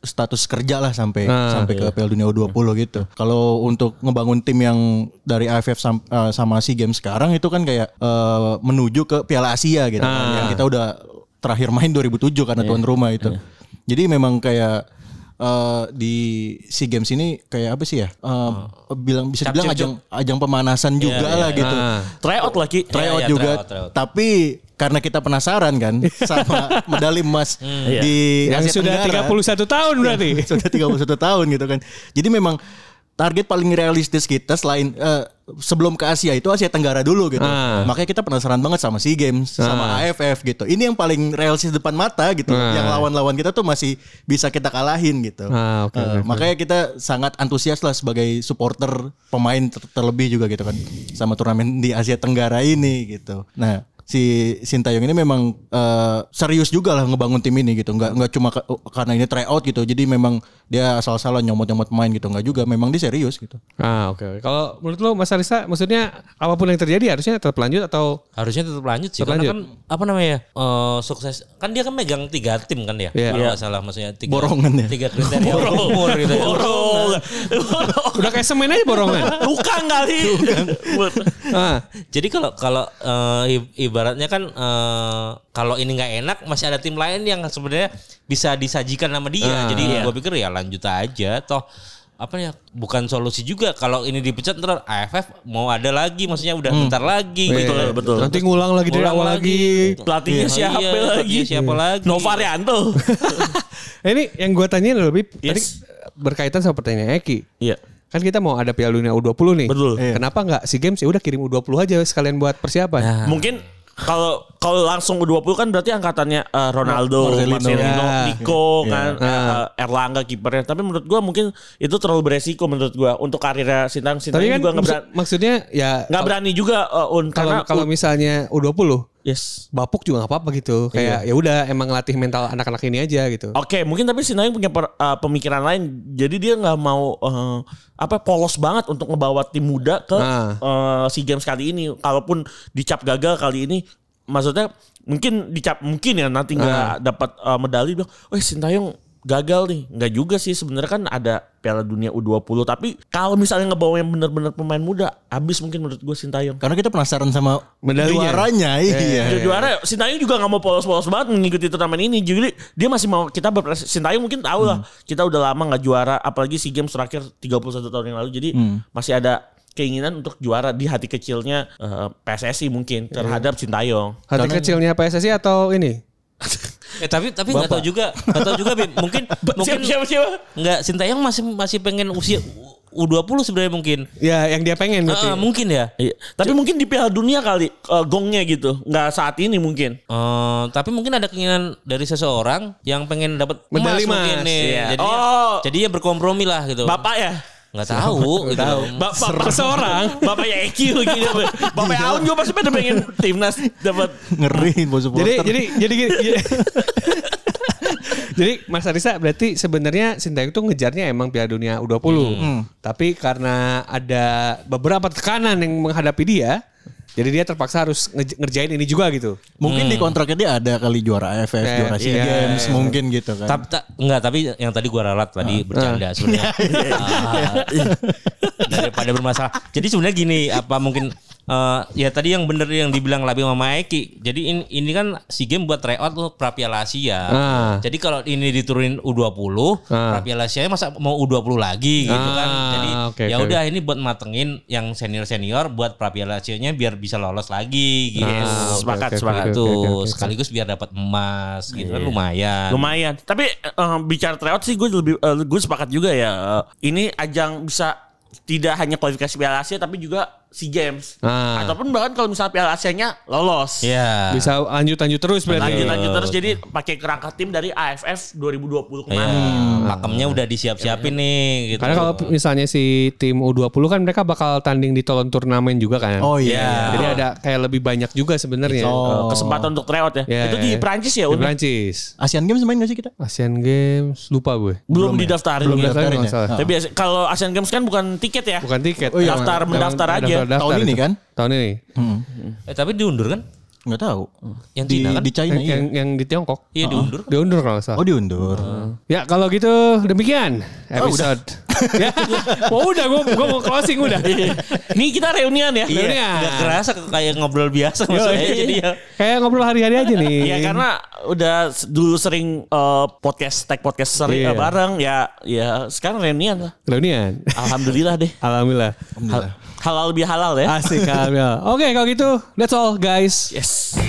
status kerja lah sampai sampai ke Piala Dunia U20 gitu. Kalau untuk ngebangun tim yang dari AFF sam- eh, sama SEA Games sekarang itu kan kayak eh, menuju ke Piala Asia gitu kan. Yang kita udah terakhir main 2007 karena tuan rumah itu. Jadi memang kayak eh, di SEA Games ini kayak apa sih ya? Eh, bilang bisa dibilang ajang ajang pemanasan juga lah gitu
Tryout lagi.
tryout
Iya, iya,
juga.
tryout, tryout.
Tapi karena kita penasaran
[laughs]
kan sama medali emas
Hmm.
di
Yang
Iya.
Asia
sudah
Tenggara. Iya,
31 tahun berarti.
[laughs] sudah 31 tahun gitu kan. Jadi memang target paling realistis kita selain eh, sebelum ke Asia itu Asia Tenggara dulu gitu.
Ah.
Makanya kita penasaran banget sama SEA Games,
Ah.
sama AFF gitu. Ini yang paling realistis depan mata gitu.
Ah.
Yang lawan-lawan kita tuh masih bisa kita kalahin gitu.
Ah, oke,
Eh,
oke, oke.
makanya kita sangat antusias lah sebagai supporter pemain ter- terlebih juga gitu kan sama turnamen di Asia Tenggara ini gitu. Nah, si Sintayong ini memang eh, serius juga lah ngebangun tim ini gitu. Nggak nggak cuma ke- karena ini tryout gitu. Jadi memang dia asal-asalan nyomot-nyomot main gitu. Nggak juga, memang dia serius gitu.
Ah oke. oke. Kalau menurut lo Mas Arista, maksudnya apapun yang terjadi harusnya tetap lanjut atau
Harusnya tetap lanjut sih
Tetap
karena
lanjut.
kan apa namanya eh, sukses kan dia kan megang tiga tim kan ya
Iya.
kalau nggak salah maksudnya tiga
Borongan ya.
tiga kriteria umur gitu ya.
Borong.
[laughs] udah kayak semen aja
[laughs]
borongan.
Tukang kali.
ah,
Jadi kalau kalau eh, i- ibaratnya kan eh, kalau ini nggak enak masih ada tim lain yang sebenarnya bisa disajikan sama dia. Jadi gue pikir ya lanjut aja toh apa ya bukan solusi juga kalau ini dipecat ntar AFF mau ada lagi maksudnya udah bentar lagi gitu
Betul,
loh.
betul.
Nanti ngulang lagi dari
Ngulang
awal lagi.
Pelatihnya
Iya,
siapa
pelatihnya
lagi?
siapa lagi?
Oh, Novarianto.
Eh, ini yang gue tanyain lebih tadi
Yes.
berkaitan sama pertanyaan Eki.
Iya.
Kan kita mau ada Piala Dunia U20 nih.
Betul.
Iya.
Kenapa nggak si Games ya udah kirim U20 aja sekalian buat persiapan.
Mungkin kalau kalau langsung U20 kan berarti angkatannya eh, Ronaldo,
Marcelino.
Marcelino,
Ya.
Nico kan
Nah.
eh, Erlangga kipernya. Tapi menurut gua mungkin itu terlalu beresiko menurut gua untuk karirnya Sintang Sintang
Tapi kan
juga nggak
maksud-
berani,
maksudnya ya
nggak berani juga eh, Un
kalau
karena
kalau
Un-
misalnya U20
yes.
bapuk juga nggak apa-apa gitu. Kayak ya
Iya.
udah emang latih mental anak-anak ini aja gitu.
Oke, mungkin tapi Sinayong punya per- eh, pemikiran lain. Jadi dia nggak mau eh, apa polos banget untuk ngebawa tim muda ke
Ah.
eh, SEA Games kali ini. Kalaupun dicap gagal kali ini, maksudnya mungkin dicap mungkin ya nanti nggak dapat eh, medali bilang, "Wah, Sintayong gagal nih." Nggak juga sih sebenarnya kan ada Piala Dunia U20, tapi kalau misalnya ngebawa yang benar-benar pemain muda, habis mungkin menurut gue Sintayong.
Karena kita penasaran sama
Medalinya. Eh,
juaranya. Iya.
Ju- juara Sintayong juga nggak mau polos-polos banget mengikuti turnamen ini. Jadi dia masih mau kita berprestasi. Sintayong mungkin tahu lah kita udah lama nggak juara apalagi SEA Games terakhir 31 tahun yang lalu. Jadi masih ada keinginan untuk juara di hati kecilnya eh, PSSI mungkin terhadap Sintayong.
Hati kecilnya PSSI atau ini?
Eh tapi tapi nggak tahu juga nggak tahu juga Bim.
[laughs]
mungkin mungkin
Siapa siapa siapa?
nggak Sintayong masih masih pengen usia U20 sebenarnya mungkin.
Ya yang dia pengen berarti.
Ah, mungkin ya.
Iya. Tapi mungkin di Piala Dunia kali eh, gongnya gitu. Nggak saat ini mungkin.
Eh, tapi mungkin ada keinginan dari seseorang yang pengen dapat
Medali emas,
mungkin nih.
iya.
Jadinya,
Oh.
jadinya berkompromi lah gitu.
Bapak ya?
nggak tahu
[laughs]
gitu.
Ba- bapak seorang, bapak ya EQ gitu. Bapak Aun juga pasti pada pengen timnas dapat
Ngeri
Jadi
buat supporter.
jadi jadi gini. jadi- [laughs] Jadi Mas Arisa berarti sebenarnya Sintayong tuh ngejarnya emang Piala Dunia U20. Tapi karena ada beberapa tekanan yang menghadapi dia, jadi dia terpaksa harus nge- ngerjain ini juga gitu.
mungkin di kontraknya dia ada kali juara AFF,
Eh,
juara SEA
iya.
Games mungkin gitu kan.
Tapi
Nah.
ta- enggak, tapi yang tadi gua ralat tadi bercanda
[laughs]
sebenarnya.
Iya,
Ah, daripada bermasalah. Jadi sebenarnya gini, apa mungkin eh, ya tadi yang bener yang dibilang Labi sama Eki. Jadi ini, ini kan si game buat tryout untuk Prapiala Asia.
Ah.
Jadi kalau ini diturunin U20,
Ah.
Prapiala Asia masa mau U20 lagi gitu kan.
Ah,
Jadi
oke,
ya
oke.
udah ini buat matengin yang senior-senior buat Prapiala Asia-nya biar bisa lolos lagi gitu.
Yes, sepakat,
Ah, oke,
sepakat.
oke,
Tuh,
oke, oke. Iya.
sekaligus biar dapat emas gitu kan lumayan.
Lumayan. Tapi eh, bicara tryout sih gue lebih eh, gue sepakat juga ya. Eh, ini ajang bisa tidak hanya kualifikasi Piala Asia tapi juga si James
Ah.
ataupun bahkan kalau misalnya Piala Asia-nya lolos.
Iya.
Bisa lanjut-lanjut terus berarti. Iya.
Lanjut-lanjut terus jadi pakai kerangka tim dari AFF 2020
Iya.
kemarin.
Pakemnya udah disiap-siapin nih gitu.
Hmm. Iya, Karena kalau misalnya si tim U20 kan mereka bakal tanding di tolon turnamen juga kan.
Oh iya.
Jadi ada kayak lebih banyak juga sebenarnya.
Oh.
Kesempatan untuk tryout ya.
Iya,
Itu di
iya.
Prancis ya,
Di
Uni?
Prancis.
Asian Games main gak sih kita?
Asian Games lupa gue.
Belum, didaftarin.
Belum
Iya.
Daftarin
daftarin
nggak
ya?
salah.
Tapi biasa- kalau Asian Games kan bukan tiket ya.
Bukan
[laughs]
tiket.
Oh iya.
Daftar, mendaftar aja.
Tahun ini
itu.
kan?
Tahun ini.
Hmm.
Eh, tapi diundur kan?
Nggak tahu.
Yang
di,
Cina kan?
Di China
Yang,
iya.
yang, yang di Tiongkok.
Iya diundur.
Diundur kalau nggak salah.
Oh diundur.
Hmm.
Ya kalau gitu demikian
Oh,
episode. [laughs] ya, mau udah gue gue mau closing udah.
Iya.
Ini kita reunian ya.
Iya.
[laughs]
Iya. Gak kerasa ke- kayak ngobrol biasa maksudnya.
iya.
Jadi ya.
Kayak ngobrol hari-hari aja nih.
Iya karena udah s- dulu sering eh, podcast tag podcast sering
Iya.
eh, bareng ya ya sekarang reunian lah.
reunian. [laughs]
Alhamdulillah deh.
Alhamdulillah.
Hal- halal lebih halal ya.
Asik alhamdulillah. Oke kalau gitu that's all guys.
Yes.